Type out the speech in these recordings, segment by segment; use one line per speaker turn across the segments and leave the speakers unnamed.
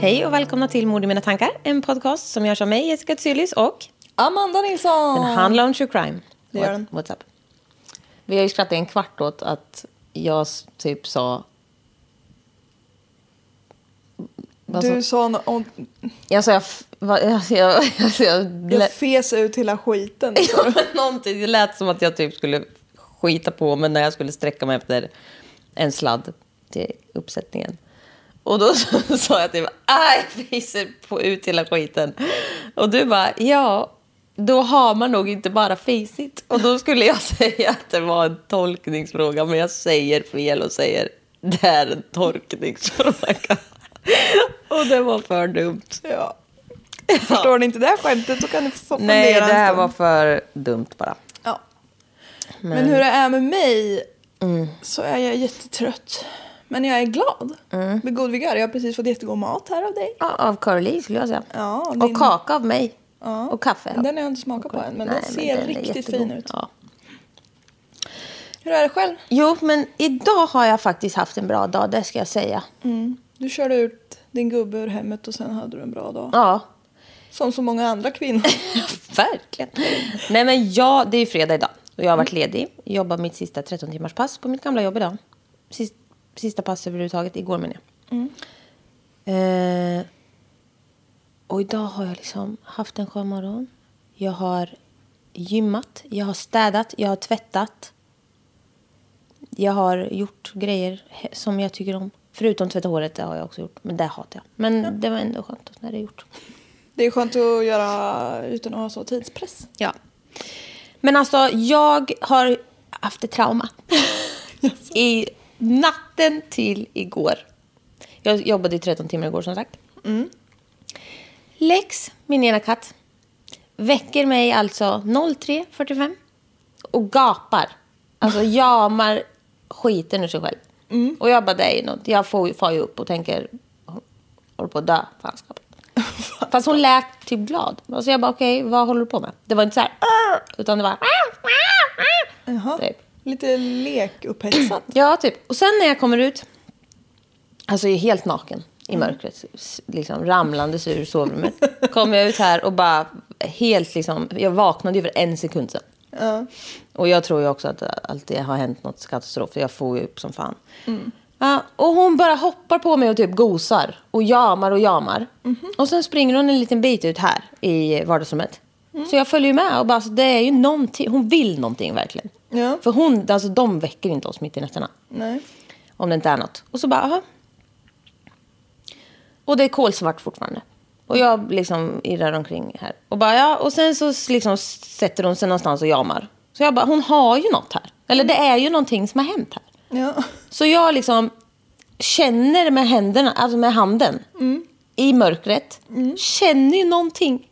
Hej och välkomna till Mord i mina tankar, en podcast som görs av mig, Jessica Tsyllis och
Amanda Nilsson!
den handlar om true crime.
Det gör den.
What's up?
Vi har ju skrattat en kvart åt att jag s- typ sa... Vad sa-
Du sa nå- om-
jag sa... Jag, f- vad- jag, jag, jag, jag,
jag
jag
fes ut hela skiten. sa du.
Någonting, det lät som att jag typ skulle skita på mig när jag skulle sträcka mig efter en sladd till uppsättningen. Och då så- sa jag typ, aj, fiser på ut hela skiten. Och du bara, ja, då har man nog inte bara fisit. Och då skulle jag säga att det var en tolkningsfråga, men jag säger fel och säger, det är en tolkningsfråga. Och det var för dumt.
Ja. Förstår ni inte det här skämtet så kan ni få fundera
Nej, det
en
här
stund.
var för dumt bara.
Ja. Men... hur det är med mig
Mm.
så är jag jättetrött. Men jag är glad. Med god vigör. Jag har precis fått jättegod mat här av dig.
Mm. Ja, av Caroline skulle jag säga.
Ja,
och
din-
kaka av mig.
Ja.
Och kaffe.
Den har jag inte smakat på än, men den ser
är
riktigt
jättegod.
fin ut.
Ja.
Hur är det själv?
Jo, men idag har jag faktiskt haft en bra dag, det ska jag säga.
Mm. Du körde ut din gubbe ur hemmet och sen hade du en bra dag.
Ja,
Som så många andra kvinnor.
verkligen. Nej, men jag, det är ju fredag idag och jag har varit ledig. Jobbar mitt sista 13 timmars pass på mitt gamla jobb idag. Sist, sista pass överhuvudtaget, igår menar jag. Eh, och idag har jag liksom haft en skön morgon. Jag har gymmat, jag har städat, jag har tvättat. Jag har gjort grejer he- som jag tycker om. Förutom tvätta håret, det har jag också gjort. Men det hatar jag. Men det var ändå skönt när det är gjort.
Det är skönt att göra utan att ha så tidspress.
Ja. Men alltså, jag har haft ett trauma. I natten till igår. Jag jobbade i 13 timmar igår som sagt. Lex, min ena katt, väcker mig alltså 03.45 och gapar. Alltså jamar skiten ur sig själv. Och jag bara, det är ju något. Jag får, ju- far ju upp och tänker, "Hon håller på att dö, fanskapet. Fast hon lät typ glad. Alltså jag bara, okej, vad håller du på med? Det var inte så här, "Arr!" utan det var...
Jaha.
Typ.
Lite lekupphetsat.
Ja, typ. Och sen när jag kommer ut, alltså jag är helt naken i mörkret, s- liksom ramlandes ur sovrummet. Kommer jag ut här och bara helt liksom, jag vaknade ju för en sekund sedan. Och jag tror ju också att, att det har hänt något katastrof, för jag får ju upp som fan. Ja, och hon bara hoppar på mig och typ gosar och jamar och jamar. Och sen springer hon en liten bit ut här i vardagsrummet. Så jag följer ju med och bara, alltså, det är ju någonting, hon vill någonting verkligen.
Ja.
För hon, alltså de väcker inte oss mitt i nätterna.
Nej.
Om det inte är något. Och så bara, aha. Och det är kolsvart fortfarande. Och jag liksom irrar omkring här. Och bara, ja. Och sen så s- liksom sätter hon sig någonstans och jamar. Så jag bara, hon har ju något här. Eller det är ju någonting som har hänt här.
Ja.
Så jag liksom känner med händerna, alltså med handen i mörkret. Känner ju någonting.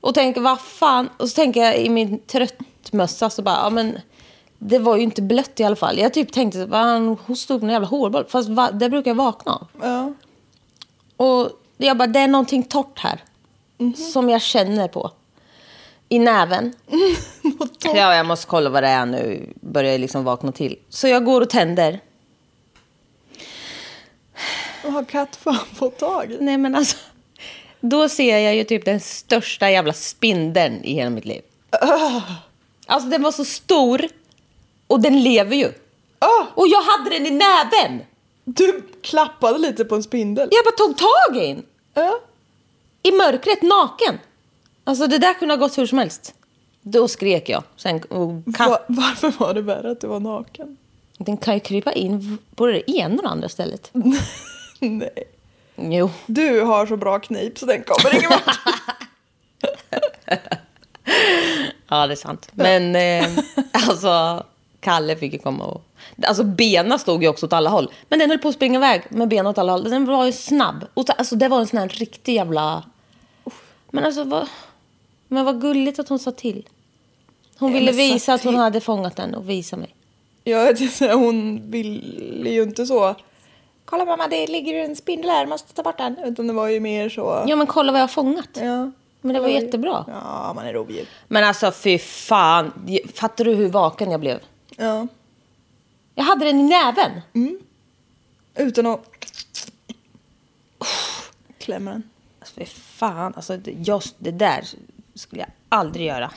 Och tänker, vad fan. Och så tänker jag i min trött, tvättmössa så bara, ja men det var ju inte blött i alla fall. Jag typ tänkte, så, "Vad, han hostade upp en jävla hårboll. Fast va, det brukar jag vakna av.
Ja.
Och jag bara, det är någonting torrt här. Som jag känner på. I näven. ja, jag måste kolla vad det är nu. Börjar jag liksom vakna till. Så jag går och tänder.
Vad har kattfan fått tag i?
Nej men alltså. Då ser jag ju typ den största jävla spindeln i hela mitt liv.
Ah.
Alltså den var så stor. Och den lever ju.
Ah,
Och jag hade den i näven.
du klappade lite på en spindel.
Jag bara tog tag i den.
Ja.
I mörkret, naken. Alltså det där kunde ha gått hur som helst. Då skrek jag. Sen, och katt,
Va- varför var det värre att du var naken?
den kan ju krypa in både det ena och det andra stället.
Nej.
Jo.
Du har så bra knip så den kommer ingen vart.
Ja, det är sant. Men eh, alltså, Kalle fick ju komma och... Alltså benen stod ju också åt alla håll. Men den höll på att springa iväg med benen åt alla håll. Den var ju snabb. Och så, alltså det var en sån här riktig jävla... Men alltså vad... Men vad gulligt att hon sa till. Hon
Ja,
ville
men sa
visa att hon
till.
hade fångat den och visa mig.
Jag vet inte, hon ville ju inte så. Kolla mamma, det ligger en spindel här, måste ta bort den. Utan det var ju mer så.
Ja men kolla vad jag har fångat.
Ja.
Men det var jättebra.
Ja, man är rovdjur.
Men alltså fy fan. Fattar du hur vaken jag blev?
Ja.
Jag hade den i näven.
Utan att... Klämmer den.
Alltså, fy fan. Alltså, det- just det där skulle jag aldrig göra.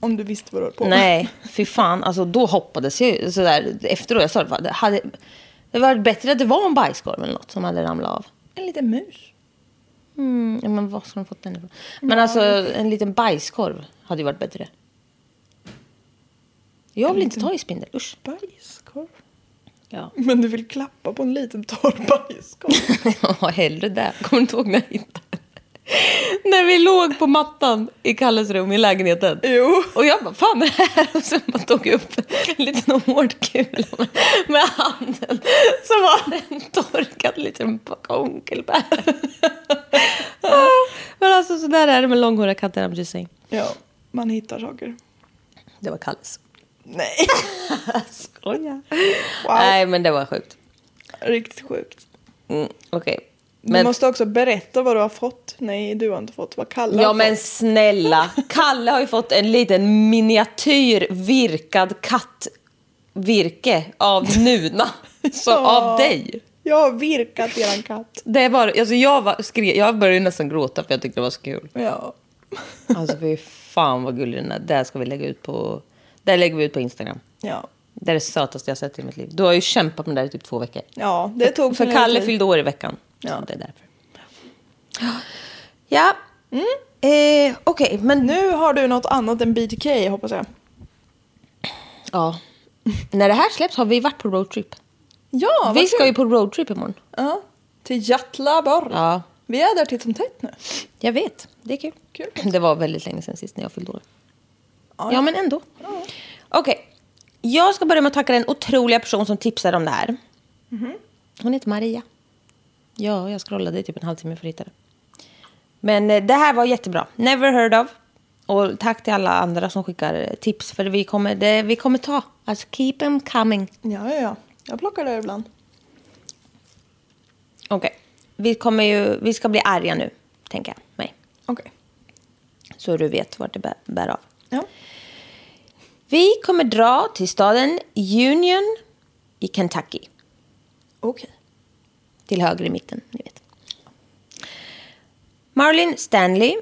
Om du visste vad du höll på med.
Nej, fy fan. Alltså, då hoppades jag ju sådär. Efteråt, jag sa det, bara, det hade det var bättre att det var en bajskorv eller något som hade ramlat av.
En liten mus.
Mm, ja, men var ska de fått den ifrån? Men alltså, en liten bajskorv hade ju varit bättre. Jag vill inte ta i spindel, usch.
Bajskorv.
Ja.
Men du vill klappa på en liten torr bajskorv.
ja, hellre det. Kommer du inte ihåg när jag hittade den? När vi låg på mattan i Kalles rum i lägenheten.
Jo.
Och jag bara, fan är det här? Och sen bara tog jag upp en liten hårdkula med, med handen. Så var det en torkad liten pack onkelbär. Men alltså så där är det med långhåriga katter, I'm just saying.
Ja, man hittar saker.
Det var Kalles.
Nej,
Skoja.
Wow.
Nej, men det var sjukt.
riktigt sjukt.
Mm, Okej.
Du
Men-
måste också berätta vad du har fått. Nej, du har inte fått. Vad Kalle
Ja
har
men
fått.
snälla, Kalle har ju fått en liten miniatyr virkad kattvirke av Nuna. Så
Ja.
av dig.
Jag har virkat eran katt.
Det var, alltså jag, var, skre, jag började ju nästan gråta för jag tyckte det var så kul.
Ja.
Alltså fy fan vad gullig den är. Det här ska vi lägga ut på, det här lägger vi ut på Instagram.
Ja.
Det är det sötaste jag sett i mitt liv. Du har ju kämpat med det här i typ två veckor.
Ja, det tog
För
sin
Kalle
tid.
fyllde år i veckan.
Ja.
Ja. Det är därför. Ja. Eh, Okej, men nu...
Nu har du något annat än BTK hoppas jag.
Ja. När det här släpps har vi varit på roadtrip.
Ja, vad
vi ska
kul.
ju på roadtrip imorgon.
Ja, till Jatlaborg.
Ja.
Vi är där titt som tätt nu.
Jag vet, det är kul.
Kul.
Det var väldigt länge sedan sist när jag fyllde år. Ja, men ändå. Okej, jag ska börja med att tacka den otroliga person som tipsade om det här. Mhm. Hon heter Maria. Ja, jag scrollade i typ en halvtimme för att hitta det. Men eh, det här var jättebra. Never heard of. Och tack till alla andra som skickar eh, tips, för vi kommer, det, vi kommer ta. Alltså, keep them coming.
Ja, ja, ja. Jag plockar där ibland.
Okej, vi, kommer ju, vi ska bli arga nu, tänker jag mig.
Okej.
Så du vet vart det bär, bär av.
Ja.
Vi kommer dra till staden Union i Kentucky.
Okej.
Till höger i mitten, ni vet. Marlin Stanley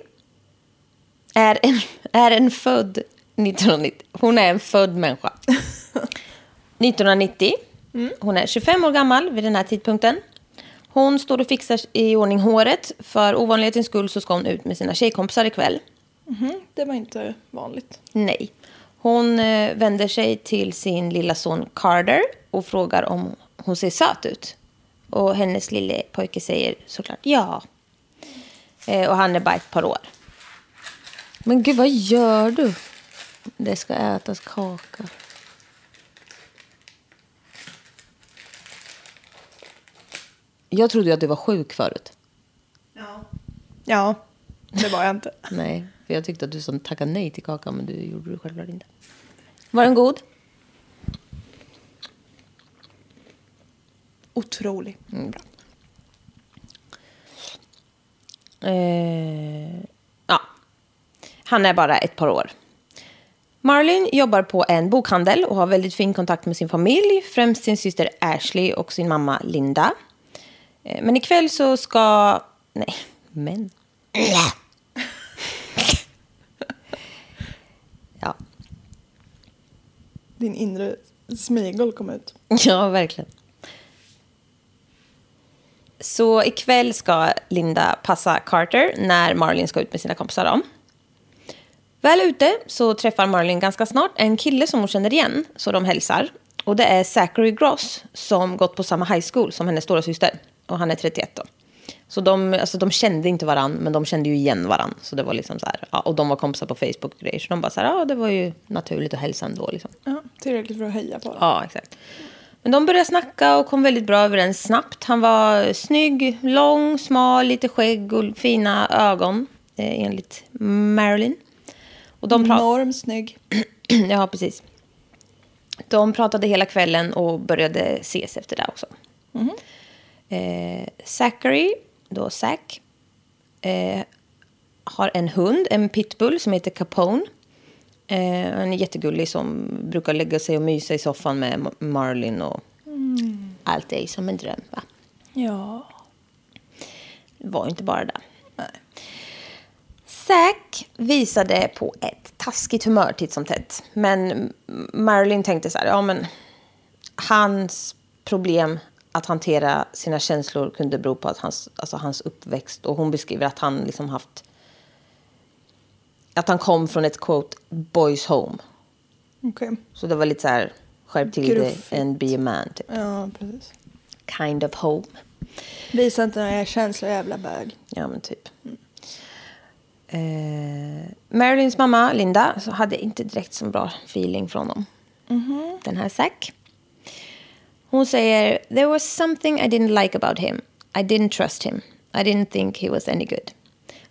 är en, är en född 1990. Hon är en född människa. 1990. Hon är 25 år gammal vid den här tidpunkten. Hon står och fixar i ordning håret. För ovanlighetens skull så ska hon ut med sina tjejkompisar ikväll.
Mm, Det var inte vanligt.
Nej. Hon eh, vänder sig till sin lilla son Carter och frågar om hon ser söt ut. Och hennes lille pojke säger såklart ja. Eh, och han är bara ett par år. Men gud, vad gör du? Det ska ätas kaka. Jag trodde ju att du var sjuk förut.
Ja, det var jag inte.
Nej, för jag tyckte att du som tackade nej till kakan, men du gjorde det självklart inte. Var den god?
Otrolig.
Eh, ja. Han är bara ett par år. Marlin jobbar på en bokhandel och har väldigt fin kontakt med sin familj, främst sin syster Ashley och sin mamma Linda. Eh, Men ikväll så ska... Nej, men... ja.
Din inre smigel kom ut.
Ja, verkligen. Så ikväll ska Linda passa Carter när Marlin ska ut med sina kompisar. Om. Väl ute så träffar Marlin ganska snart en kille som hon känner igen, så de hälsar. Och det är Zachary Gross som gått på samma high school som hennes stora syster. Och han är 31 då. Så de, alltså, de kände inte varann, men de kände ju igen varann. Så det var liksom så här, ja, och de var kompisar på Facebook och grejer. Så de bara så här, ja det var ju naturligt att hälsa ändå liksom.
Ja, tillräckligt för att heja på den.
Ja, exakt. Men de började snacka och kom väldigt bra överens snabbt. Han var snygg, lång, smal, lite skägg och fina ögon, eh, enligt Marilyn. Och de pra-
Enormt snygg.
ja, precis. De pratade hela kvällen och började ses efter det också. Eh, Zachary, då Zack, eh, har en hund, en pitbull som heter Capone. Eh, han är jättegullig som brukar lägga sig och mysa i soffan med Ma- Marlin och allt är som en dröm. Va?
Ja.
Det var ju inte bara det. Zack visade på ett taskigt humör titt som tätt. Men Marilyn tänkte så här, ja men hans problem att hantera sina känslor kunde bero på att hans, alltså hans uppväxt. Och hon beskriver att han liksom haft, att han kom från ett quote boys home.
Okej.
Så det var lite så här, skärp till dig
Gruffigt.
and be a man. Typ.
Ja, precis.
Kind of home.
Visa inte några känslor, jävla bög.
Ja, men typ. Eh, Marilyns mamma, Linda, så hade inte direkt så bra feeling från dem. Den här Zack. Hon säger, there was something I didn't like about him. I didn't trust him. I didn't think he was any good.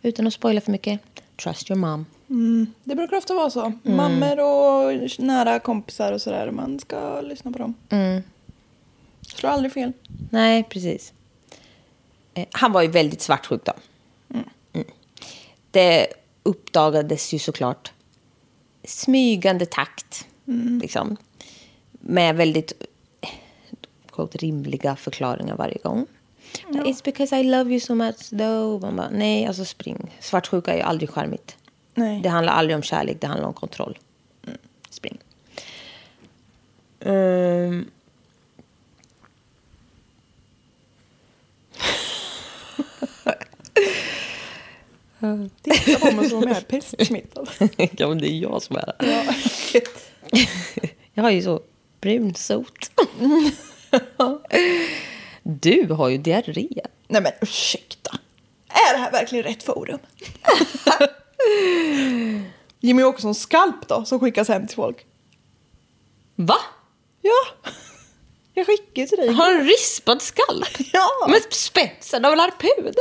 Utan att spoila för mycket, trust your mom.
Det brukar ofta vara så. Mammor och nära kompisar och sådär. Man ska lyssna på dem. Slår aldrig fel.
Nej, precis. Eh, han var ju väldigt svartsjuk då. Mm. Det uppdagades ju såklart smygande takt. Liksom, med väldigt eh, quote, rimliga förklaringar varje gång. It's because I love you so much though. Man bara, nej, alltså spring. Svartsjuka är ju aldrig charmigt.
Nej.
Det handlar aldrig om kärlek, det handlar om kontroll. Mm. Spring. Ehm,
Titta på mig som om jag är pestsmittad.
ja, men det är jag som är det. jag har ju så brun sot. du har ju diarré.
Nej men ursäkta. Är det här verkligen rätt forum? Jimmy Åkessons skalp då, som skickas hem till folk.
Va?
Ja, jag skickade ju till dig.
Har en rispad skalp?
Ja.
Med spetsen av en harpun?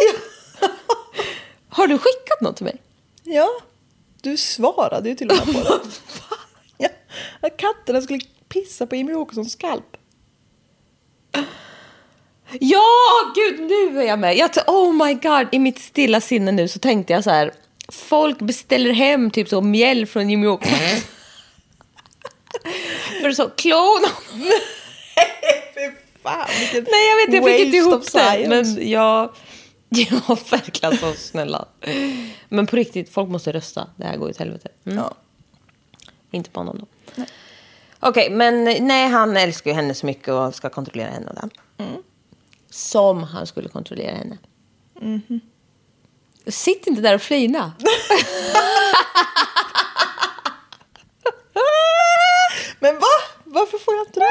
har du skickat något till mig?
Ja, du svarade ju till och med på det. ja, att katterna skulle pissa på Jimmy Åkessons skalp.
Ja, gud nu är jag med. Jag t- oh my god, i mitt stilla sinne nu så tänkte jag så här. Folk beställer hem typ så mjäll från Jimmy Åkesson. För så klona honom.
Fy fan, vilket
Nej, jag vet, jag fick inte
waste
ihop
of
det.
science.
Men jag... Ja, verkligen så snälla. Men på riktigt, folk måste rösta. Det här går ju åt helvete. Mm.
Ja.
Inte på honom då. Okej, men nej, han älskar ju henne så mycket och ska kontrollera henne och den.
Mm.
Som han skulle kontrollera henne.
Mhm.
Sitt inte där och flina.
Men va? Varför får jag inte det?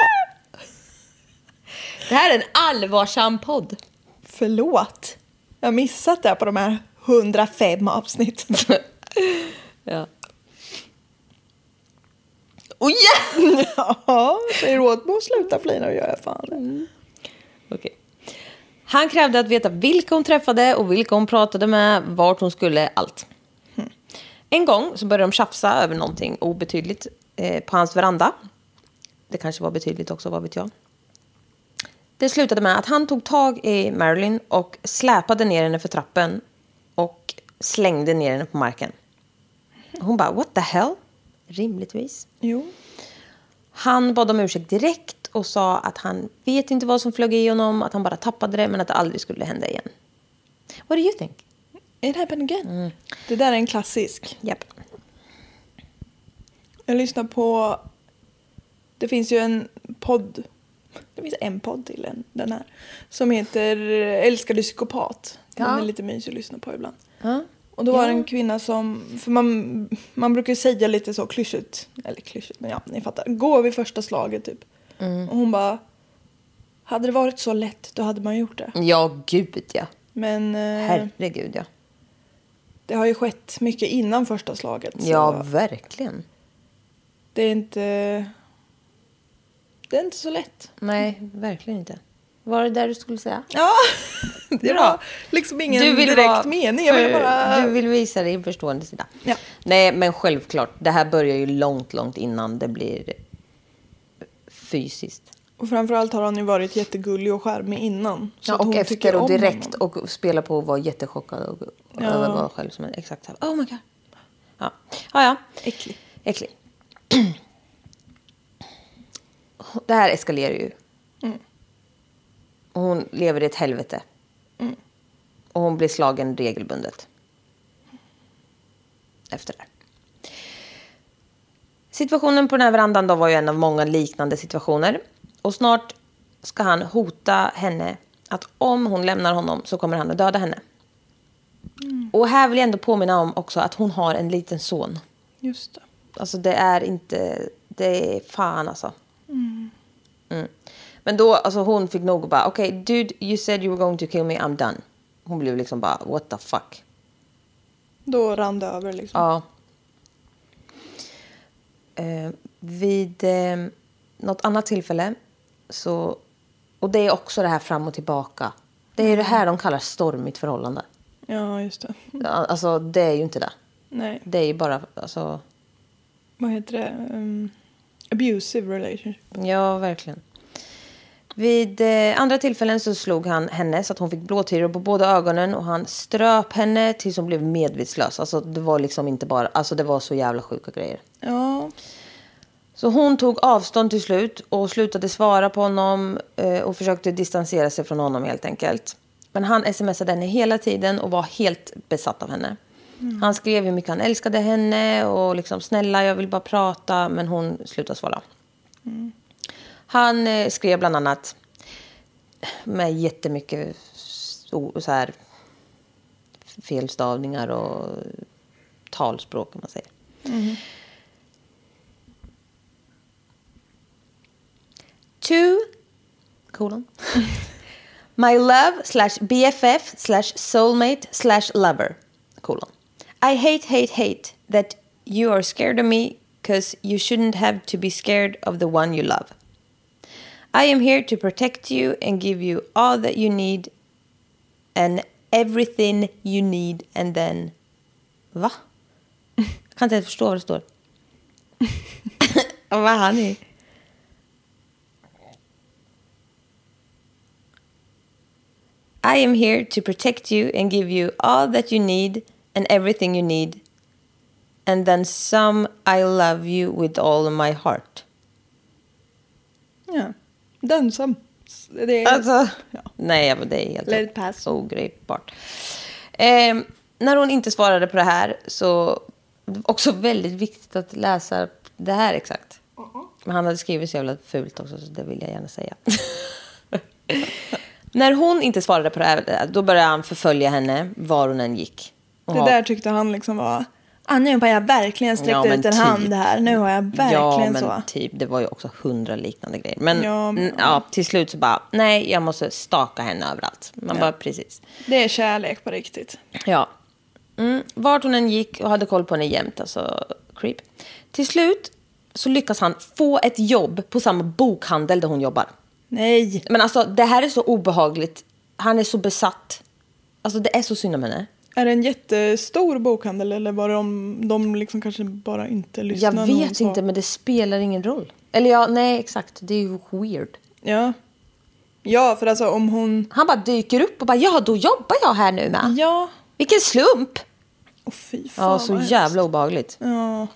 Det här är en allvarsam podd.
Förlåt. Jag har missat det här på de här 105 avsnitten.
Ja.
Och igen! Oh, Ja, säger du åt mig att sluta flina och gör jag fan det.
Mm. Okej. Han krävde att veta vilka hon träffade och vilka hon pratade med, Hmm. vart hon skulle, allt. En gång så började de tjafsa över någonting obetydligt eh, på hans veranda. Det kanske var betydligt också, vad vet jag. Det slutade med att han tog tag i Marilyn och släpade ner henne för trappen och slängde ner henne på marken. Hon bara, what the hell? Rimligtvis.
Jo.
Han bad om ursäkt direkt och sa att han vet inte vad som flög i honom, att han bara tappade det, men att det aldrig skulle hända igen. What do you think?
It happened again.
Mm.
Det där är en klassisk.
Japp.
Jag lyssnar på... Det finns ju en podd. Det finns en podd till än den här. Som heter Älskar du psykopat? Den
Ja.
är lite mysig att lyssna på ibland.
Ja.
Och då var det en kvinna som, för man, man brukar ju säga lite så klyschigt, eller klyschigt men ja ni fattar, gå vid första slaget typ.
Mm.
Och hon bara, hade det varit så lätt då hade man gjort det.
Ja, gud ja.
Men eh,
Herregud ja.
det har ju skett mycket innan första slaget. så
Ja, verkligen.
Det är inte, det är inte så lätt.
Nej, verkligen inte. Var det där du skulle säga?
Ja, det var liksom ingen direkt mening. Jag
för-
ville bara...
Du vill visa din förstående sida.
Ja.
Nej, men självklart. Det här börjar ju långt, långt innan det blir fysiskt.
Och framförallt har hon ju varit jättegullig och charmig innan. Så
Ja,
att hon
och efter
tycker
och
om
direkt
honom.
och spela på och vara jättechockad och och
Ja.
övergå själv som en exakt så här, oh my god. Ja, ja. ja.
Äcklig.
Äcklig. Det här eskalerar ju. Och Hon lever i ett helvete. Och hon blir slagen regelbundet. Efter det här. Situationen på den här verandan då var ju en av många liknande situationer. Och snart ska han hota henne att om hon lämnar honom så kommer han att döda henne. Och här vill jag ändå påminna om också att hon har en liten son.
Just det.
Alltså det är inte... Det är fan alltså. Mm. Men då, alltså hon fick nog och bara okej dude you said you were going to kill me I'm done. Hon blev liksom bara what the fuck.
Då rann det över liksom.
Ja. Eh, vid eh, något annat tillfälle så... Och det är också det här fram och tillbaka. Det är det här de kallar stormigt förhållande.
Ja, just det.
Alltså det är ju inte det.
Nej,
Det är ju bara alltså...
vad heter det? Um, abusive relationship.
Ja, verkligen. Vid eh, andra tillfällen så slog han henne så att hon fick blåtiror på båda ögonen och han ströp henne tills hon blev medvetslös. Alltså det var liksom inte bara, alltså det var så jävla sjuka grejer.
Ja,
Så hon tog avstånd till slut och slutade svara på honom eh, och försökte distansera sig från honom helt enkelt. Men han smsade henne hela tiden och var helt besatt av henne. Han skrev hur mycket han älskade henne och liksom snälla jag vill bara prata men hon slutade svara. Han eh, skrev bland annat med jättemycket so- så här, felstavningar och talspråk om man säger. to colon my love slash bff slash soulmate slash lover colon i hate hate hate that you are scared of me because you shouldn't have to be scared of the one you love i am here to protect you and give you all that you need and everything you need and then va Jag kan inte ens förstå vad det står vad han är I am here to protect you and give you all that you need and everything you need. And then some I love you with all my heart.
ja. Dönsam. Det är...
Alltså,
Ja.
nej, men det är helt
Let it pass.
ogripbart. Eh, när hon inte svarade på det här så också väldigt viktigt att läsa det här exakt. Men han hade skrivit så jävla fult också, så det vill jag gärna säga. när hon inte svarade på det här, då började han förfölja henne var hon än gick. Och
Det
ha-
där tyckte han liksom var... Ah, nu har jag verkligen sträckt
men
ut en
typ.
hand här. Nu har jag
ja,
verkligen
men
så.
typ. Det var ju också hundra liknande grejer. Men,
Ja,
ja,
men-
ja, till slut så bara, nej, jag måste staka henne överallt. Man bara, precis.
Det är kärlek på riktigt.
Ja. Mm. Vart hon än gick och hade koll på henne jämt, alltså creep. Till slut så lyckas han få ett jobb på samma bokhandel där hon jobbar.
Nej.
Men alltså det här är så obehagligt. Han är så besatt. Alltså det är så synd om henne.
Är det en jättestor bokhandel eller var det om de liksom kanske bara inte
Jag
lyssnade? när hon
vet
sa-
inte, men det spelar ingen roll. Eller ja, nej exakt. Det är ju weird.
Ja. Ja, för alltså om hon...
Han bara dyker upp och bara ja, då jobbar jag här nu med.
Ja.
Vilken slump!
Åh fy fan.
Ah. Ja, så
vad
jävla obehagligt.
Ja.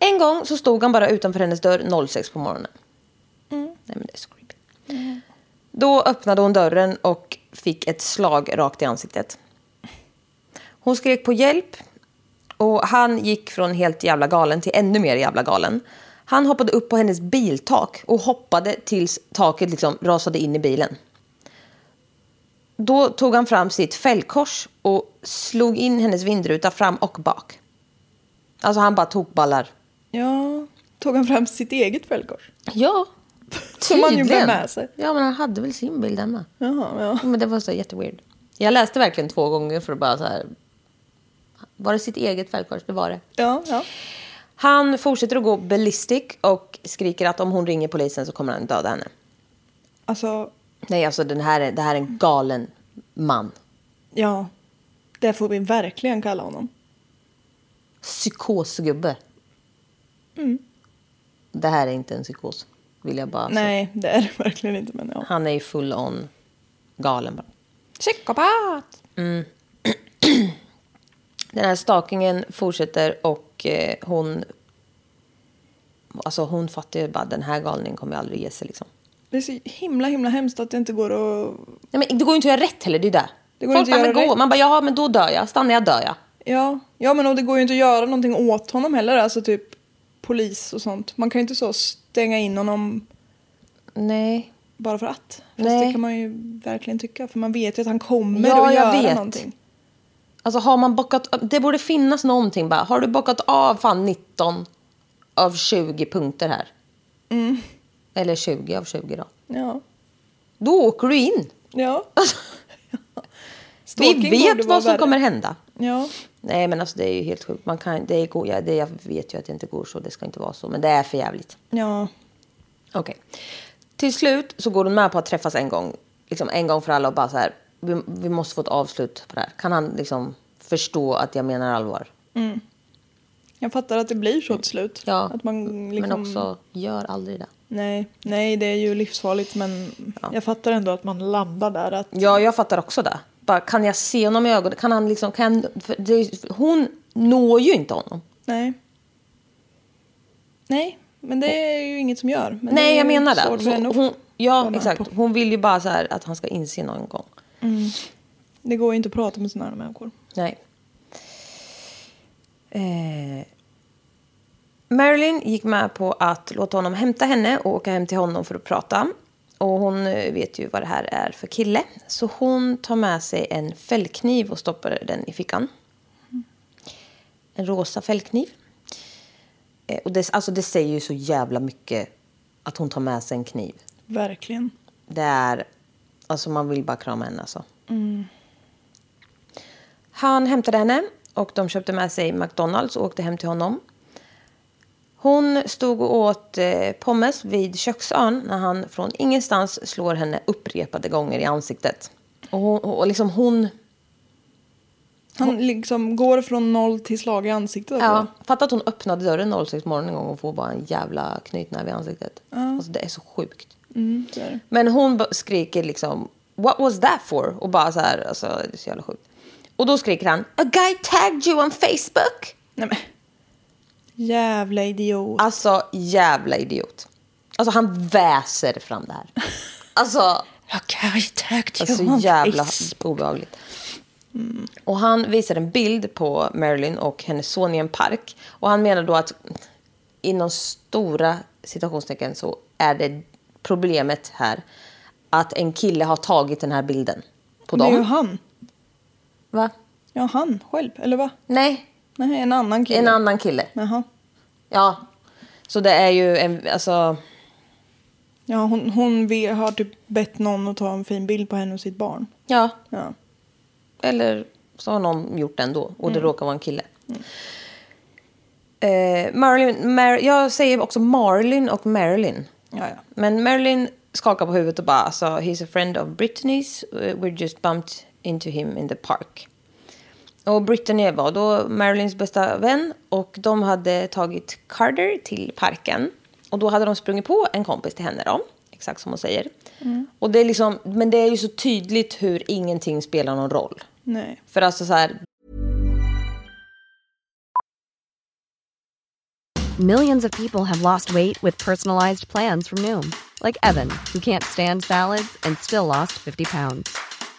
En gång så stod han bara utanför hennes dörr 06 på morgonen. Nej, men det är så creepy. Då öppnade hon dörren och fick ett slag rakt i ansiktet. Hon skrek på hjälp och han gick från helt jävla galen till ännu mer jävla galen. Han hoppade upp på hennes biltak och hoppade tills taket liksom rasade in i bilen. Då tog han fram sitt fällkors och slog in hennes vindruta fram och bak. Alltså han bara tog ballar.
Ja. Tog han fram sitt eget fällkors?
Ja,
Som han ju
tydligen.
bär med sig.
Ja, men han hade väl sin bild hemma.
Jaha, ja.
Men det var så jätteweird. Jag läste verkligen två gånger för att bara så här... Var det sitt eget fällkors? Det var det.
Ja, ja.
Han fortsätter att gå ballistic och skriker att om hon ringer polisen så kommer han döda henne.
Alltså,
Nej, alltså den här, är- det här är en galen man.
ja. Det får vi verkligen kalla honom.
Psykosgubbe.
Mm.
Det här är inte en psykos, vill jag bara säga.
Nej, det är det verkligen inte, men ja.
Han är ju full on galen bara.
Psykopat!
Den här stakingen fortsätter och eh, hon... Alltså hon fattar ju bara den här galningen kommer ju aldrig ge sig liksom.
Det är så himla, himla hemskt att det inte går att...
Nej men det går ju inte att göra rätt heller, det är ju det.
Det går
Folk bara,
inte att
men
göra
gå.
rätt.
Man bara, ja men då dör jag. Stannar jag dör jag.
Ja. ja, men och det går ju inte att göra någonting åt honom heller, alltså typ polis och sånt. Man kan ju inte så stänga in honom
Nej.
bara för att. Fast
Nej.
det kan man ju verkligen tycka, för man vet ju att han kommer
Ja, jag
att göra
vet.
någonting.
Alltså har man bockat... Det borde finnas någonting bara. Har du bockat av fan 19 av 20 punkter här?
Mm.
Eller 20 av 20 då.
Ja.
Då åker du in.
Ja. Stalking
Vi
borde
vet
vara
vad som
värre.
kommer hända.
Ja.
Nej, men alltså det är ju helt sjukt. Man kan, det är go- ja, det, jag vet ju att det inte går så, det ska inte vara så, men det är för jävligt.
Ja.
Okej. Till slut så går hon med på att träffas en gång, liksom en gång för alla och bara så här, vi, vi måste få ett avslut på det här. Kan han liksom förstå att jag menar allvar?
Jag fattar att det blir så till slut.
Ja,
att man liksom...
men också gör aldrig det.
Nej, nej, det är ju livsfarligt men jag fattar ändå att man landar där. Att...
Ja, jag fattar också det. Bara, kan jag se honom i ögonen? Kan han liksom, kan jag, för det, är- hon når ju inte honom.
Nej. Nej, men det är ju inget som gör. Men det
Nej,
är
jag
ju
menar det.
svårt för
Så
henne att
Hon, ja,
vara med
exakt.
på.
Hon vill ju bara så här att han ska inse någon gång.
Det går ju inte att prata med sådana här människor.
Nej. Eh, Marilyn gick med på att låta honom hämta henne och åka hem till honom för att prata. Och hon eh, vet ju vad det här är för kille. Så hon tar med sig en fällkniv och stoppar den i fickan. En rosa fällkniv. Eh, och det, alltså det säger ju så jävla mycket att hon tar med sig en kniv.
Verkligen.
Det är... Alltså man vill bara krama henne alltså. Han hämtade henne och de köpte med sig McDonalds och åkte hem till honom. Hon stod och åt eh, pommes vid köksön när han från ingenstans slår henne upprepade gånger i ansiktet. Och, hon, och liksom hon...
Han liksom går från noll till slag i ansiktet.
Ja, fatta att hon öppnade dörren 06 morgon en gång och får bara en jävla knytnäve i ansiktet. Alltså det är så sjukt.
Mm, så är det.
Men hon ba- skriker liksom “What was that for?” och bara så här, alltså det är så jävla sjukt. Och då skriker han “A guy tagged you on Facebook!”
Nej, men. Jävla idiot.
Alltså jävla idiot. Alltså han väser fram det här. Alltså,
Okay, tack
alltså jävla obehagligt. Och han visar en bild på Marilyn och hennes son i en park. Och han menar då att inom stora citationstecken så är det problemet här att en kille har tagit den här bilden på
Det är ju
dem.
han.
Va?
Ja, han själv. Eller va?
Nej,
Nej, en annan kille.
en annan kille.
Jaha.
Ja. Så det är ju en, alltså,
Ja, hon, hon ve- har typ bett någon att ta en fin bild på henne och sitt barn.
ja.
Ja.
Eller så har någon gjort det ändå och
Mm.
det råkar vara en kille. Eh, Marilyn, Mar- jag säger också Marlin och Marilyn.
Ja, ja.
Men Marilyn skakar på huvudet och bara alltså, he's a friend of Britneys. We just bumped into him in the park. Och Britney var då Marilyns bästa vän och de hade tagit Carter till parken. Och då hade de sprungit på en kompis till henne då, exakt som hon säger. Och det är liksom, men det är ju så tydligt hur ingenting spelar någon roll.
Nej.
För alltså så här,
Millions of people have lost weight with personalized plans from Noom, like Evan, who can't stand salads and still lost 50 pounds.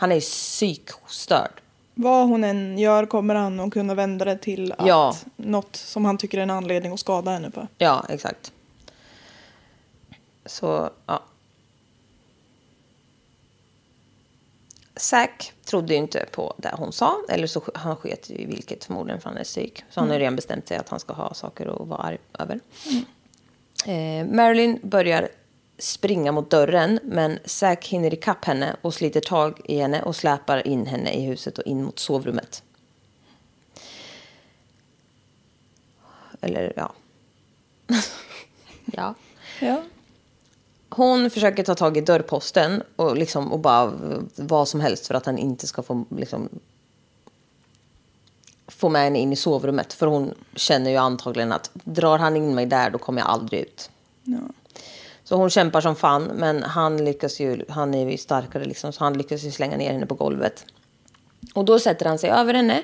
han är ju psykstörd.
Vad hon än gör kommer han att kunna vända det till att
Ja.
något som han tycker är en anledning att skada henne på.
Ja, exakt. Så, ja. Zack trodde ju inte på det hon sa. Eller så sk- han sket i vilket förmodligen för han är psyk. Så han har ju redan bestämt sig att han ska ha saker att vara arg över. Eh, Marilyn börjar springa mot dörren. Men Zack hinner ikapp henne och sliter tag i henne och släpar in henne i huset och in mot sovrummet. Eller ja. ja.
Ja.
Hon försöker ta tag i dörrposten och, liksom, och bara v- vad som helst för att han inte ska få, liksom, få med henne in i sovrummet. För hon känner ju antagligen att drar han in mig där då kommer jag aldrig ut.
ja.
Så hon kämpar som fan, men han lyckas ju, han är ju starkare liksom, så han lyckas ju slänga ner henne på golvet. Och då sätter han sig över henne,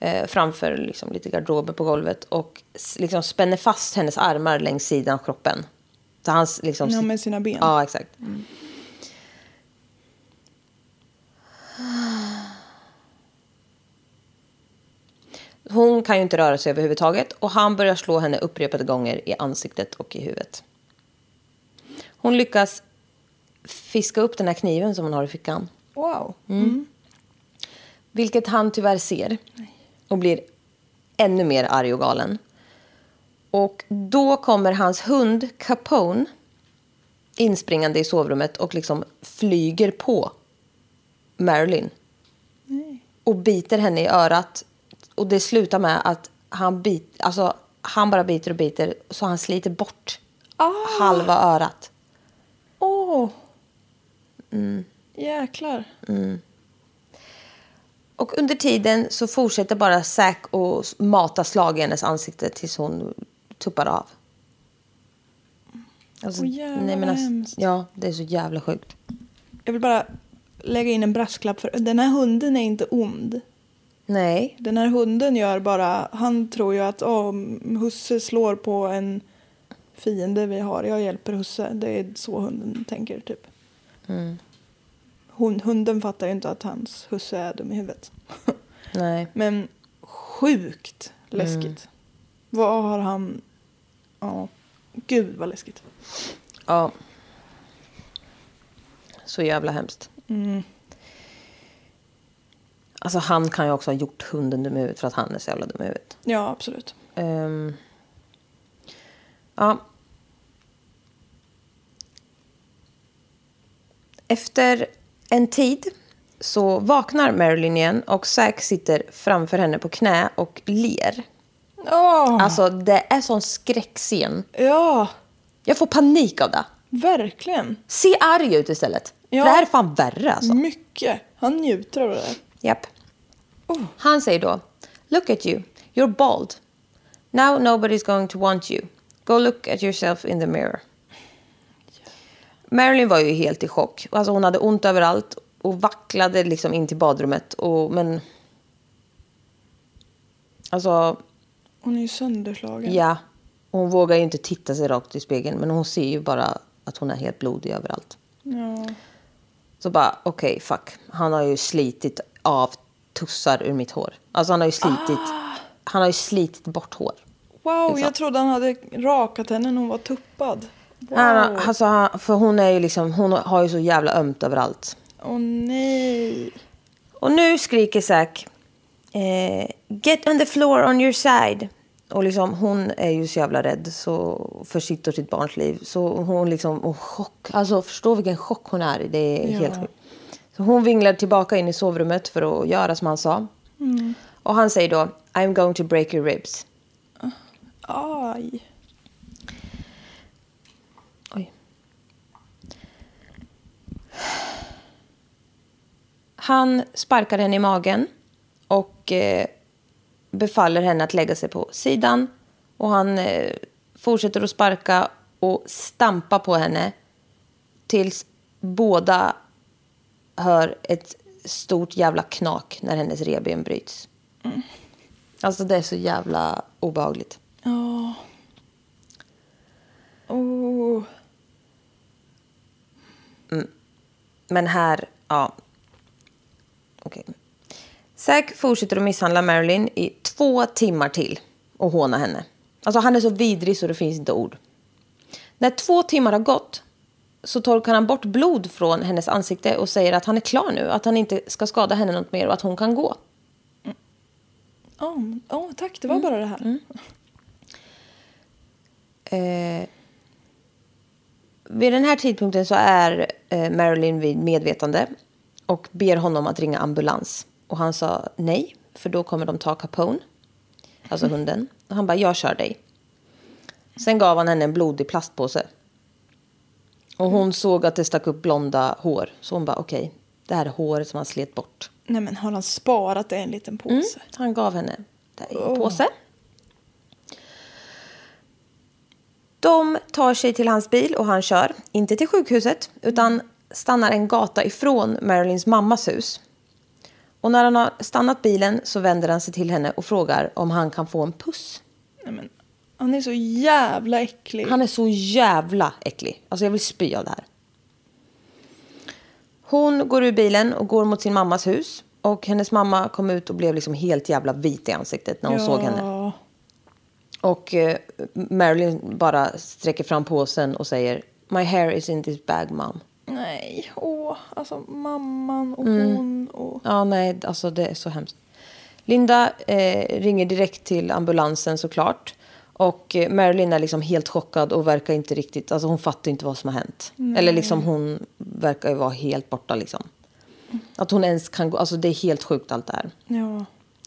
eh, framför liksom lite garderober på golvet och s- liksom spänner fast hennes armar längs sidan av kroppen. Så han s- liksom...
Ja, med sina ben. Mm.
Ja, exakt. Hon kan ju inte röra sig överhuvudtaget och han börjar slå henne upprepade gånger i ansiktet och i huvudet. Hon lyckas fiska upp den här kniven som hon har i fickan. Mm.
Wow. Mm.
Vilket han tyvärr ser. Och blir ännu mer arg och galen. Och då kommer hans hund Capone inspringande i sovrummet och liksom flyger på Marilyn. Och biter henne i örat. Och det slutar med att han, bit, alltså, han bara biter och biter så han sliter bort
Ah.
halva örat.
Åh!
Mm.
Jäklar.
Och under tiden så fortsätter bara Zack och mata slag i hennes ansikte tills hon tuppar av. Alltså,
Åh, jävlar, vad
alltså,
hemskt.
Ja, det är så jävla sjukt.
Jag vill bara lägga in en brasklapp för den här hunden är inte ond.
Nej.
Den här hunden gör bara, han tror ju att oh, husse slår på en fiende vi har, jag hjälper husse. Det är så hunden tänker typ.
Mm.
Hon, hunden fattar ju inte att hans husse är dum i huvudet.
Nej.
Men sjukt läskigt. Vad har han... Ja, gud vad läskigt.
Ja. Så jävla hemskt. Alltså han kan ju också ha gjort hunden dum i huvudet för att han är så jävla dum i huvudet.
Ja, absolut.
Ehm. ja. Efter en tid så vaknar Marilyn igen och Zack sitter framför henne på knä och ler.
Åh,
Alltså det är sån skräckscen.
Ja,
Jag får panik av det.
verkligen.
Se arg ut istället.
Ja. Mm.
För det här är fan värre alltså.
Mycket. Han njuter av det där.
Japp. Han säger då, look at you, you're bald. Now nobody's going to want you. Go look at yourself in the mirror. Marilyn var ju helt i chock. Alltså hon hade ont överallt och vacklade liksom in till badrummet. Och, men... Alltså,
Hon är ju sönderslagen.
ja. Hon vågar ju inte titta sig rakt i spegeln, men hon ser ju bara att hon är helt blodig överallt.
Ja.
Så bara, okej, fuck. Han har ju slitit av tussar ur mitt hår. Alltså han har ju slitit, han har ju slitit bort hår.
Wow,
Exakt.
jag trodde han hade rakat henne när hon var tuppad. Wow.
Han, har- alltså, han, för hon är ju liksom, hon har ju så jävla ömt överallt.
Åh nej.
Och nu skriker Zack eh, Get on the floor on your side. Och liksom, hon är ju så jävla rädd så, för sitt och sitt barns liv. Så hon liksom, och chock. Alltså förstå vilken chock hon är i. Det är helt sjukt. Så hon vinglar tillbaka in i sovrummet för att göra som han sa. Och han säger då I'm going to break your ribs.
Aj.
Oj. Han sparkar henne i magen och eh, befaller henne att lägga sig på sidan. Och han eh, fortsätter att sparka och stampa på henne tills båda hör ett stort jävla knak när hennes revben bryts. Alltså det är så jävla obehagligt.
Ja. Oh.
Men här, ja. Okej. Zack fortsätter att misshandla Marilyn i två timmar till och håna henne. Alltså han är så vidrig så det finns inte ord. När två timmar har gått så torkar han bort blod från hennes ansikte och säger att han är klar nu, att han inte ska skada henne något mer och att hon kan gå.
Ja, men- ja, tack, det var bara det här.
Eh, vid den här tidpunkten så är eh, Marilyn vid medvetande och ber honom att ringa ambulans. Och han sa nej, för då kommer de ta Capone, alltså hunden. Och han bara, jag kör dig. Sen gav han henne en blodig plastpåse. Och hon såg att det stack upp blonda hår. Så hon bara, okej, det här är håret som han slet bort.
Nej men har han sparat det i en liten påse?
Mm, Han gav henne det i en påse. De tar sig till hans bil och han kör, inte till sjukhuset, utan stannar en gata ifrån Marilyns mammas hus. Och när han har stannat bilen så vänder han sig till henne och frågar om han kan få en puss.
Nej men, han är så jävla äcklig.
Han är så jävla äcklig. Alltså jag vill spy av det här. Hon går ur bilen och går mot sin mammas hus. Och hennes mamma kom ut och blev liksom helt jävla vit i ansiktet när hon såg henne.
Ja.
Och eh, Marilyn bara sträcker fram påsen och säger My hair is in this bag mom.
Nej, åh, alltså mamman och hon och...
Ja, nej, alltså det är så hemskt. Linda eh, ringer direkt till ambulansen såklart. Och eh, Marilyn är liksom helt chockad och verkar inte riktigt, alltså hon fattar inte vad som har hänt. Eller liksom hon verkar ju vara helt borta liksom. Att hon ens kan gå, alltså det är helt sjukt allt det här.
Ja.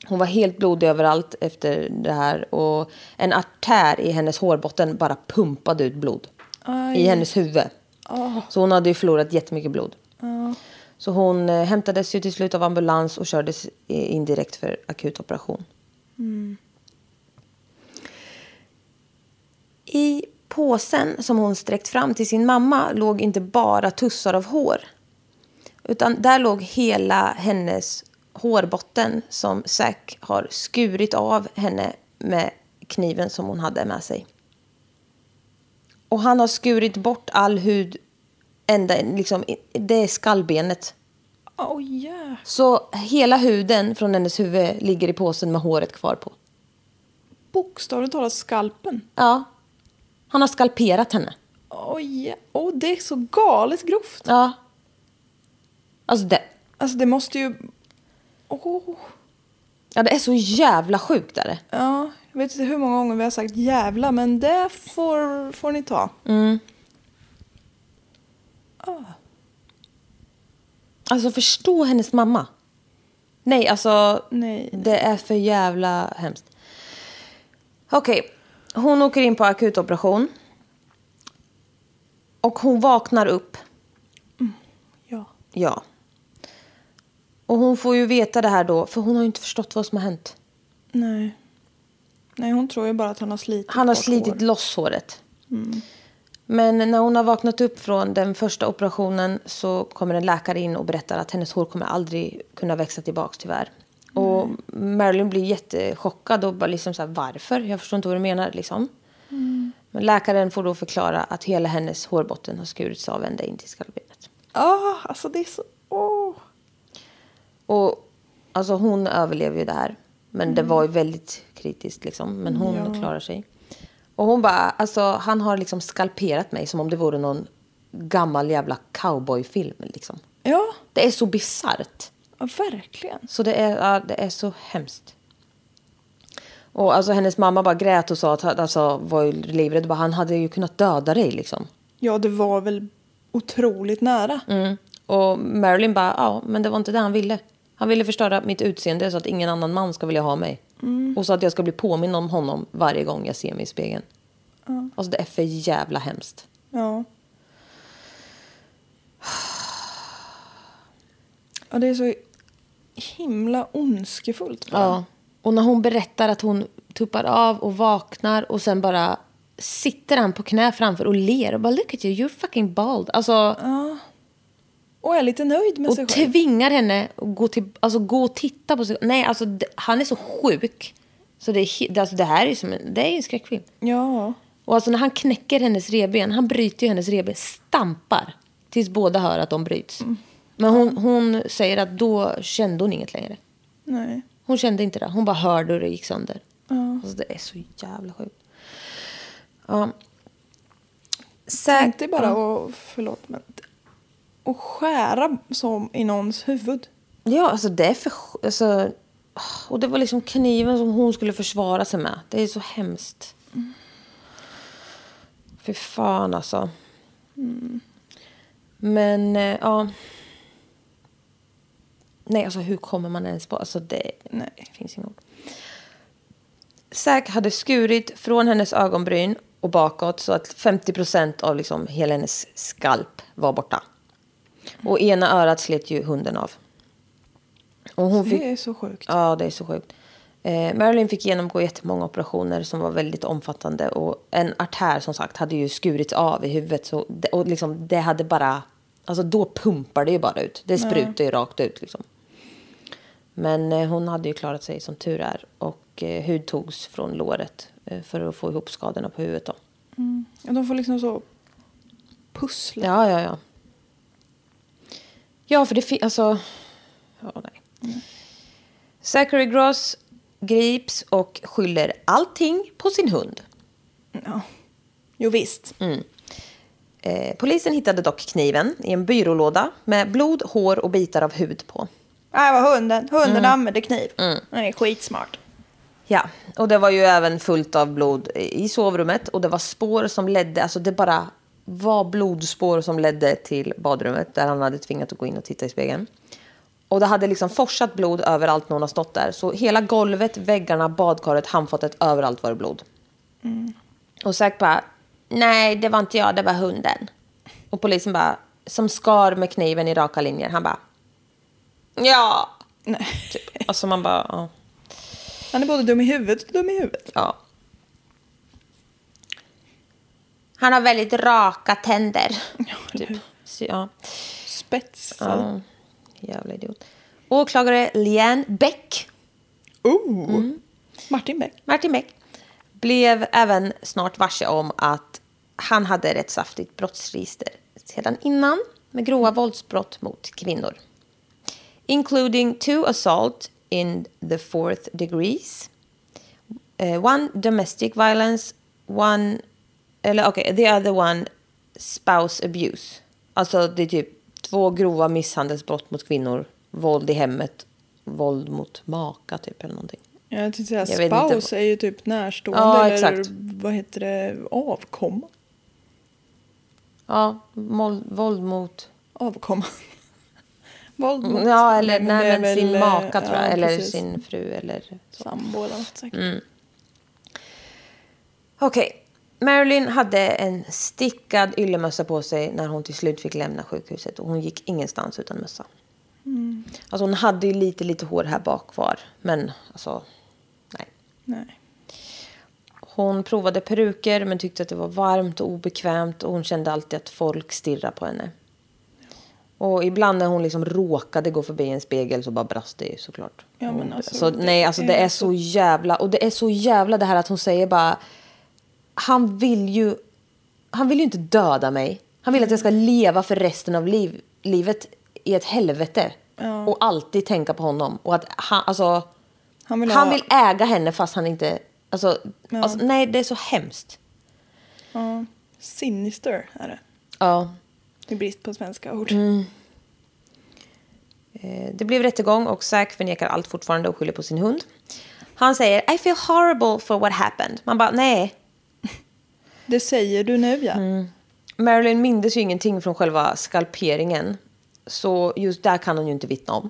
Hon var helt blodig överallt efter det här och en artär i hennes hårbotten bara pumpade ut blod.
Aj.
I hennes huvud. Så hon hade ju förlorat jättemycket blod. Så hon eh, hämtades ju till slut av ambulans och kördes eh, in direkt för akut operation. I påsen som hon sträckt fram till sin mamma låg inte bara tussar av hår. Utan där låg hela hennes hårbotten som Zack har skurit av henne med kniven som hon hade med sig. Och han har skurit bort all hud ända, liksom, det är skallbenet.
Ah, Åh yeah.
Så hela huden från hennes huvud ligger i påsen med håret kvar på.
Bokstavligt talat skalpen.
Ja. Han har skalperat henne.
Åh yeah. Åh, det är så galet grovt.
Ja. Alltså det,
Alltså det måste ju... Åh.
ja, det är så jävla sjukt är det.
Ja, jag vet inte hur många gånger vi har sagt jävla, men det får, får ni ta.
Alltså förstå hennes mamma. Nej, alltså.
Nej.
Det är för jävla hemskt. Okej, hon åker in på akutoperation. Och hon vaknar upp.
Ja.
Ja. Och hon får ju veta det här då, för hon har ju inte förstått vad som har hänt.
Nej. Nej, hon tror ju bara att han har slitit
Han har
bort Mm.
slitit
hår.
loss håret. Men när hon har vaknat upp från den första operationen så kommer en läkare in och berättar att hennes hår kommer aldrig kunna växa tillbaka tyvärr. Och Marilyn blir jättechockad och bara liksom så här, varför? Jag förstår inte vad du menar liksom.
Mm.
Men läkaren får då förklara att hela hennes hårbotten har skurits av ända in till skallbenet.
Ah, alltså det är så... Åh!
Och alltså hon överlever ju det här. Men det var ju väldigt kritiskt liksom. Men hon klarar sig. Och hon bara, alltså han har liksom skalperat mig som om det vore någon gammal jävla cowboyfilm liksom.
Ja,
Det är så bisarrt.
ja, verkligen.
Så det är, ja, det är så hemskt. Och alltså hennes mamma bara grät och sa att han- alltså, var ju livrädd. Bara, Han hade ju kunnat döda dig liksom.
Ja, det var väl otroligt nära.
Mm. Och Marilyn bara, ja, men det var inte det han ville. Han ville förstöra mitt utseende så att ingen annan man ska vilja ha mig. Och så att jag ska bli påminn om honom varje gång jag ser mig i spegeln. Alltså det är för jävla hemskt.
Ja. Ja, det är så himla ondskefullt. bara.
Ja. Och när hon berättar att hon tuppar av och vaknar och sen bara sitter han på knä framför och ler och bara look at you, you're fucking bald. Alltså,
Och är lite nöjd med sig
och typ-
själv.
tvingar henne att gå, till, alltså, gå och titta på sig Nej, alltså d- han är så sjuk. Så det, är he- det- alltså, det här är ju som en, det är ju en skräckfilm.
Ja.
Och alltså när han knäcker hennes revben, han bryter ju hennes revben, stampar tills båda hör att de bryts. Men hon, hon säger att då kände hon inget längre.
Nej.
Hon kände inte det. Hon bara hörde hur det gick sönder. Alltså det är så jävla sjukt. Ja.
Tänk dig bara att, förlåt men, att skära som i någons huvud.
Ja, alltså det är för... sj- Alltså, och det var liksom kniven som hon skulle försvara sig med. Det är så hemskt. Fy fan alltså. Men eh, ja. Nej, alltså hur kommer man ens på... Alltså det,
Nej.
det finns inga ord. Zack hade skurit från hennes ögonbryn och bakåt så att 50 procent av liksom hela hennes skalp var borta. Och ena örat slet ju hunden av. Och hon fick,
Det är så sjukt.
ja, det är så sjukt. Eh, Marilyn fick genomgå jättemånga operationer som var väldigt omfattande. Och en artär som sagt hade ju skurits av i huvudet. Så det, och liksom, det hade bara... Alltså då pumpar det ju bara ut. Det sprutar ju rakt ut liksom. Men eh, hon hade ju klarat sig som tur är. Och eh, hud togs från låret eh, för att få ihop skadorna på huvudet då.
Ja, de får liksom så pussla.
Ja, ja, ja. Ja, för det finns... Alltså... Ja, nej. Zachary Gross grips och skyller allting på sin hund.
Ja. Jo visst.
Mm. Eh, polisen hittade dock kniven i en byrålåda med blod, hår och bitar av hud på.
Nej, vad hunden. Hunden
Mm.
använder kniv. Den är skitsmart.
Ja, och det var ju även fullt av blod i sovrummet och det var spår som ledde, alltså det bara var blodspår som ledde till badrummet där han hade tvingat att gå in och titta i spegeln. Och det hade liksom forsat blod överallt när hon har stått där. Så hela golvet, väggarna, badkaret, handfatet, överallt var det blod. Och Zack bara, nej det var inte jag, det var hunden. Och polisen bara, som skar med kniven i raka linjer. Han bara, ja.
Nej.
Alltså man bara, ja.
Han är både dum i huvudet och dum i huvudet.
Ja. Han har väldigt raka tänder. Typ.
eller hur?
Så, ja.
Spetsad.
ja. Jävla idiot. Åklagare Liane Beck,
Oh! Martin Beck.
Martin Beck, blev även snart varse om att han hade rätt saftigt brottsregister sedan innan med grova våldsbrott mot kvinnor. Including two assault in the fourth degrees. eh, one domestic violence, one, eller okej, the other one spouse abuse. Alltså det är typ två grova misshandelsbrott mot kvinnor, våld i hemmet, våld mot maka typ eller någonting.
Jag tänkte säga
Jag vet inte
spouse
vad-
är ju typ närstående
Ja,
eller
exakt.
vad heter det? Avkomma.
Ja, mål, våld mot...
Avkomma. Våld mot-
Mm, Ja, eller nej,
det är
men sin
väl, eh,
maka tror jag,
ja,
eller
precis.
sin Mm. fru eller så.
Sambo eller något säkert.
Okej. Marilyn hade en stickad yllemössa på sig när hon till slut fick lämna sjukhuset och hon gick ingenstans utan mössa.
Mm.
Alltså hon hade ju lite, lite hår här bak kvar, men alltså, nej.
Nej.
Hon provade peruker men tyckte att det var varmt och obekvämt och hon kände alltid att folk stirrade på henne. Och ibland när hon liksom råkade gå förbi en spegel så bara brast det ju såklart.
Ja, men
Hon-
alltså,
så,
det
nej, alltså det
är
är så jävla... Och det är så jävla det här att hon säger bara... Han vill ju... Han vill ju inte döda mig. Han vill att jag ska
Mm.
leva för resten av liv, livet i ett helvete. Och alltid tänka på honom. Och att han, alltså,
Han vill
han
ha-
vill äga henne fast han inte... Alltså,
Ja.
alltså, nej, det är så hemskt.
Ja. Sinister är det.
Ja.
I brist på svenska ord.
Mm. Eh, Det blev rättegång och Zack förnekar allt fortfarande och skyller på sin hund. Han säger I feel horrible for what happened. Man bara nej.
Det säger du nu ja.
Mm. Marilyn mindes ju ingenting från själva skalperingen. Så just där kan hon ju inte vittna om.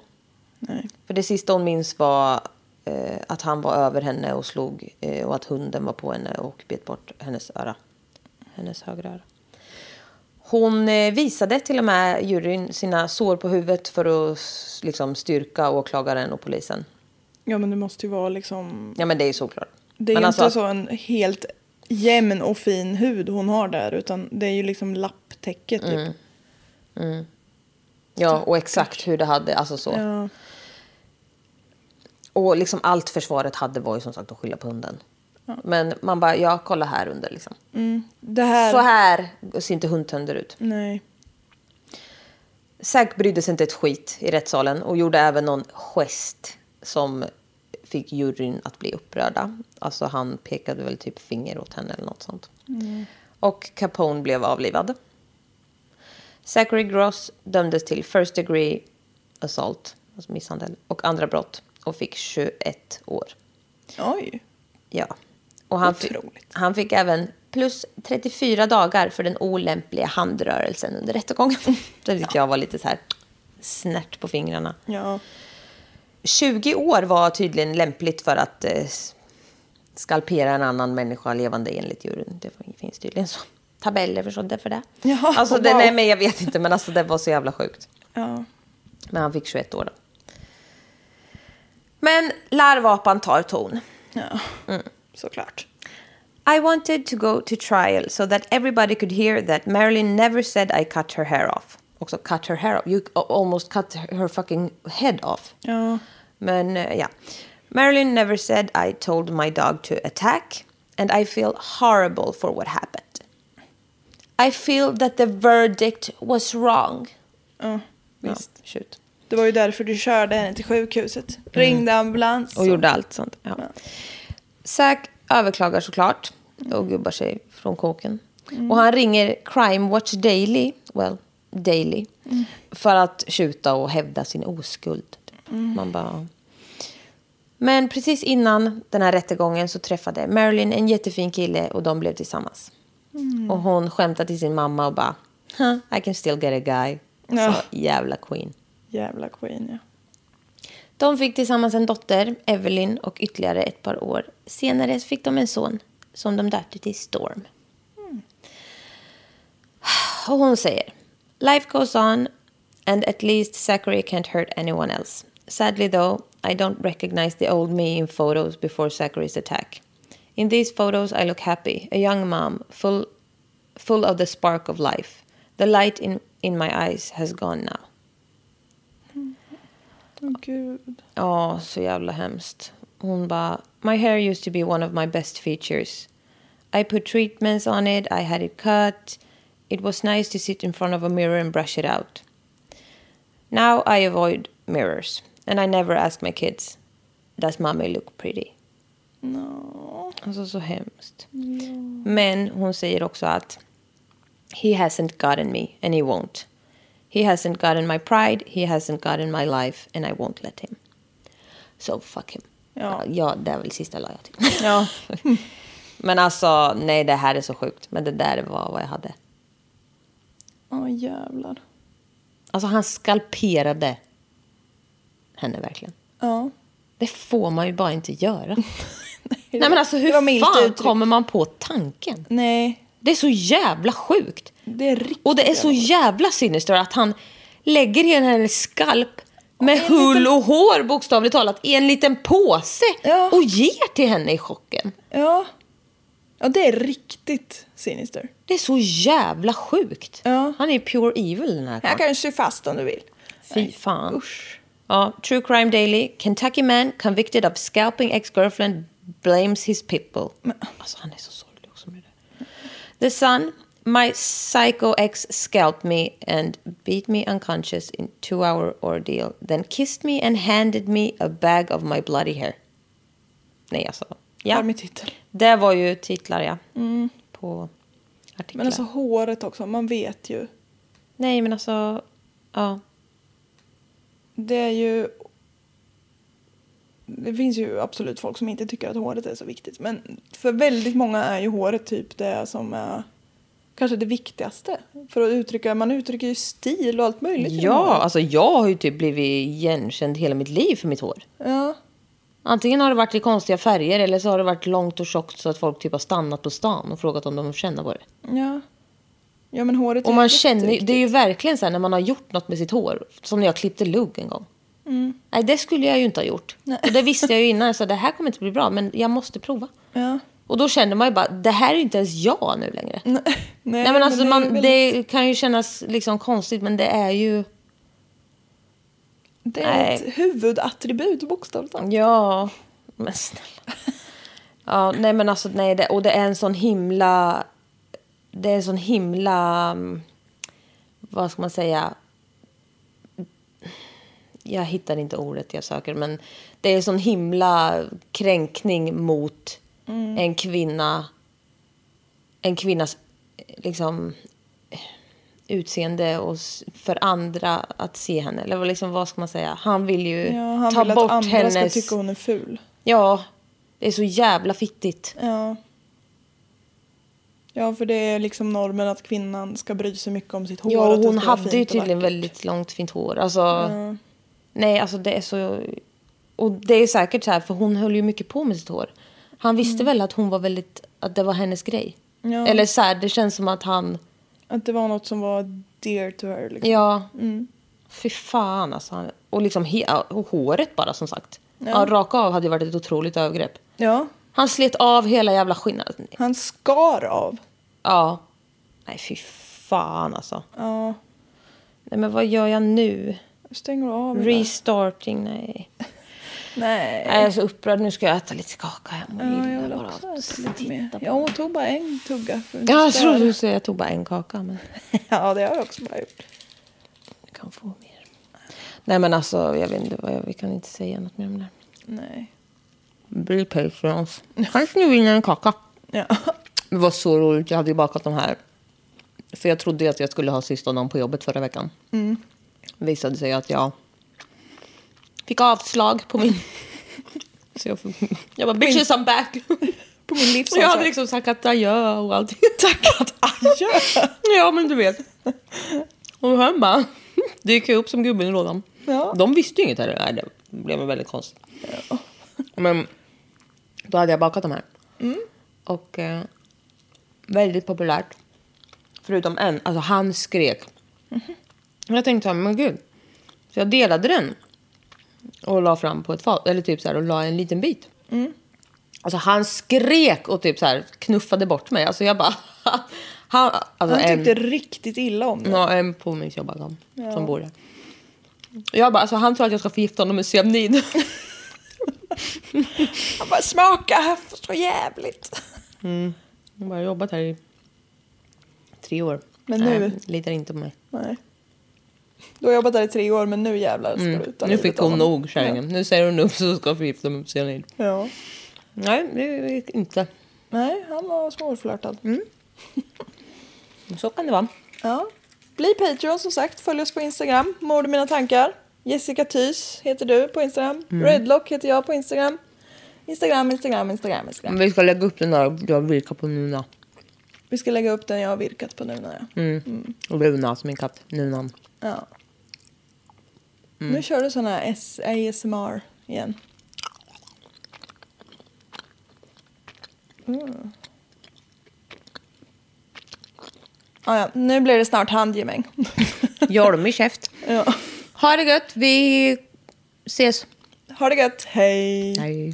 Nej.
För det sista hon minns var eh, att han var över henne och slog eh, och att hunden var på henne och bet bort hennes öra. Hennes högra öra. Hon eh, visade till och med juryn sina sår på huvudet för att s- liksom, styrka åklagaren och polisen.
Ja men det måste ju vara liksom.
Ja men det är ju såklart.
Det är
men
ju
alltså,
inte så en helt jämn och fin hud hon har där utan det är ju liksom lapptäcket typ.
Mm, Ja och exakt hur det hade, alltså så.
Ja.
Och liksom allt försvaret hade var ju som sagt att skylla på hunden. Men man bara, ja kolla här under liksom.
Mm. Det här.
Så här ser inte hundtänder ut.
Nej.
Zack brydde sig inte ett skit i rättssalen och gjorde även någon gest som fick juryn att bli upprörda. Alltså han pekade väl typ finger åt henne eller något sånt. Och Capone blev avlivad. Zachary Gross dömdes till first degree assault, alltså misshandel, och andra brott och fick 21 år.
Oj.
Ja. Och han, fi-
Otroligt.
han fick även plus 34 dagar för den olämpliga handrörelsen under rättegången. Det tyckte jag var lite så här snärt på fingrarna.
Ja.
20 år var tydligen lämpligt för att eh, skalpera en annan människa levande enligt juryn. Det finns tydligen så. tabeller förstådde för det.
Jaha,
alltså, det
oh, wow.
nej, men jag vet inte, men alltså, det var så jävla sjukt.
Ja.
Men han fick 21 år då. Men larvapan tar ton.
Ja.
Mm.
Såklart.
I wanted to go to trial so that everybody could hear that Marilyn never said I cut her hair off. Också cut her hair off. You a- almost cut her fucking head off.
Ja.
Men eh, ja. Marilyn never said I told my dog to attack and I feel horrible for what happened. I feel that the verdict was wrong.
ja.
Ja,
Visst.
shoot.
Det var ju därför du körde henne till sjukhuset. Ringde ambulans.
Mm. Och gjorde allt sånt. Ja. Zack överklagar såklart och gubbar sig från kåken. Och han ringer Crime Watch Daily, well, Daily, för att tjuta och hävda sin oskuld. Typ. Man bara... Men precis innan den här rättegången så träffade Marilyn en jättefin kille och de blev tillsammans. Och hon skämtade till sin mamma och bara, huh, I can still get a guy.
Ja.
Så jävla queen.
Jävla queen ja.
De fick tillsammans en dotter, Evelyn, och ytterligare ett par år senare fick de en son som de döpte till Storm. Och hon säger Life goes on and at least Zachary can't hurt anyone else. Sadly though, I don't recognize the old me in photos before Zachary's attack. In these photos I look happy, a young mom, full, full of the spark of life. The light in, in my eyes has gone now.
Åh gud.
Ja, så jävla hemskt. Hon bara, my hair used to be one of my best features. I put treatments on it, I had it cut. It was nice to sit in front of a mirror and brush it out. Now I avoid mirrors. And I never ask my kids, does mommy look pretty?
No.
Alltså så hemskt. Men hon säger också att He hasn't gotten me and he won't. He hasn't gotten my pride, he hasn't gotten my life and I won't let him. So fuck him.
Ja.
ja det är väl sista la jag till.
Ja.
Men alltså, nej det här är så sjukt. Men det där var vad jag hade.
Åh jävlar.
Alltså han skalperade henne verkligen.
Ja.
Det får man ju bara inte göra.
det
nej men
var-
alltså
det var
hur
milt
fan
uttryckt.
kommer man på tanken?
Nej.
Det är så jävla sjukt.
Det är riktigt
Och det är så jävla sinister att han lägger hela hennes skalp med
en liten-
hull och hår bokstavligt talat i en liten påse
Ja.
och ger till henne i chocken.
Ja. Ja, det är riktigt sinister.
Det är så jävla sjukt.
Ja.
Han är pure evil den här
Här
karln.
kan du sy fast om du vill.
Fy fan. Ja, True Crime Daily. Kentucky man convicted of scalping ex-girlfriend blames his pitbull. Alltså han är så sorglig också med det. The Sun. My psycho ex scalped me and beat me unconscious in two hour ordeal. Then kissed me and handed me a bag of my bloody hair. Nej alltså.
Ja.
Ja,
min titel.
det var ju titlar ja. På artiklar.
Mm. Men alltså håret också, man vet ju.
Nej men alltså. Ja.
Det är ju... Det finns ju absolut folk som inte tycker att håret är så viktigt. Men för väldigt många är ju håret typ det som är kanske det viktigaste. För att uttrycka, man uttrycker ju stil och allt möjligt. genom
Ja,
håret.
alltså jag har ju typ blivit igenkänd hela mitt liv för mitt hår.
ja.
Antingen har det varit i konstiga färger eller så har det varit långt och tjockt så att folk typ har stannat på stan och frågat om de känner på det.
Ja. Ja men håret
Och
ju
man känner ju-
jätteviktigt.
det är ju verkligen så här när man har gjort något med sitt hår. Som när jag klippte lugg en gång. Nej, det skulle jag ju inte ha gjort. Och det visste jag ju innan, så det här kommer inte bli bra, men jag måste prova.
Ja.
Och då känner man ju bara, det här är ju inte ens jag nu längre. Nej,
Nej,
men alltså
det är
man,
väldigt-
det kan ju kännas liksom konstigt, men det är ju...
Det är
Nej.
ett huvudattribut bokstavligt talat.
Ja, men snälla. Ja, nej men alltså nej, det, och det är en sån himla... Det är en sån himla... mm, Vad ska man säga? Jag hittar inte ordet jag söker, men det är en sån himla kränkning mot
Mm.
en kvinna. En kvinnas eh, liksom utseende och s- för andra att se henne. Eller vad liksom, vad ska man säga? Han vill ju
Ja, han
ta
vill
bort
att andra
hennes...
ska tycka hon är ful.
Ja, det är så jävla fittigt.
Ja. Ja, för det är liksom normen att kvinnan ska bry sig mycket om sitt hår.
Ja,
att det
och hon
ska vara
hade
fint
ju
och
tydligen
vackert.
väldigt långt fint hår. Alltså, Nej, alltså det är så... Och det är säkert så här, för hon höll ju mycket på med sitt hår. Han visste väl att hon var väldigt... Att det var hennes grej.
Mm. Ja.
Eller så här, det känns som att han...
Att det var något som var dear to her. Liksom.
Ja. Fy fan alltså. Han, och liksom he, och håret bara som sagt. Ja. raka av hade ju varit ett otroligt övergrepp.
Ja,
Han slet av hela jävla skinnet.
han skar av.
Ja. Nej, fy fan alltså.
Ja,
Nej, men vad gör jag nu?
stänger du av? Re-
Restarting, nej. Nej,
Nej.
jag är så upprörd. Nu ska jag äta lite kaka. Jag mår
Ja,
illa
jag vill
bara.
också äta lite mer. Jag åt tog bara en tugga. För att
Ja, jag
inte
trodde
störa.
du skulle jag tog bara en kaka, men
Ja, det har jag också bara gjort.
du kan få mer. Nej, men alltså, jag vet inte. vad jag- Vi kan inte säga något mer om det. här.
Nej.
Bli Patreons. Kanske nu vinner en kaka.
Ja.
Det var så roligt. Jag hade ju bakat de här. För jag trodde ju att jag skulle ha sista dagen på jobbet förra veckan.
Mm.
Visade sig att jag fick avslag på min... så jag, jag bara, bitches I'm back.
På min
Och jag hade
livsansvar.
liksom tackat adjö och allting. Tackat adjö? ja, men du vet. Och han bara dök upp som gubben i lådan.
Ja.
De visste ju inget heller. Nej, det blev väl väldigt konstigt. Men då hade jag bakat de här. Och eh, väldigt populärt. Förutom en, alltså han skrek. Och Mm-hmm. jag tänkte så här, men gud. Så jag delade den. Och la fram på ett fat, eller typ så här och la en liten bit.
Mm.
Alltså han skrek och typ så här knuffade bort mig. Alltså jag bara... han, alltså,
Han tyckte
en,
riktigt illa om det.
ja, en påminns jag bara om. Som bor där. Jag bara, alltså han tror att jag ska förgifta honom med cyanid.
Han bara smaka, här får så jävligt.
Hon bara, jag har jobbat här i tre år.
Men nu-
Nej, litar inte på mig.
Nej. Du har jobbat där i tre år men nu jävlar ska du ta
Mm. Nu
livet
fick
av
hon
honom.
nog kärringen. Nu säger hon upp så hon ska förgifta mig med cyanid.
Ja. ja.
Nej, det gick inte.
Nej, han var svårflörtad.
Mm. Så kan det vara.
Ja. Bli Patreon som sagt, följ oss på Instagram, Mord i mina tankar. Jessica Thys heter du på Instagram.
Mm.
Redlock heter jag på Instagram. Instagram, Instagram, Instagram, Instagram.
Vi ska lägga upp den där jag virkar på Nuna.
Vi ska lägga upp den jag har virkat på nu när jag...
Mm. Och Luna som min katt. Nunan.
Ja. Nu kör du sån här S- ASMR igen. Mm. Ah, ja. Nu blir det snart handgemäng.
Jolmig käft.
ja.
Ha det gött. Vi ses.
Ha det gött, hej!
Hej.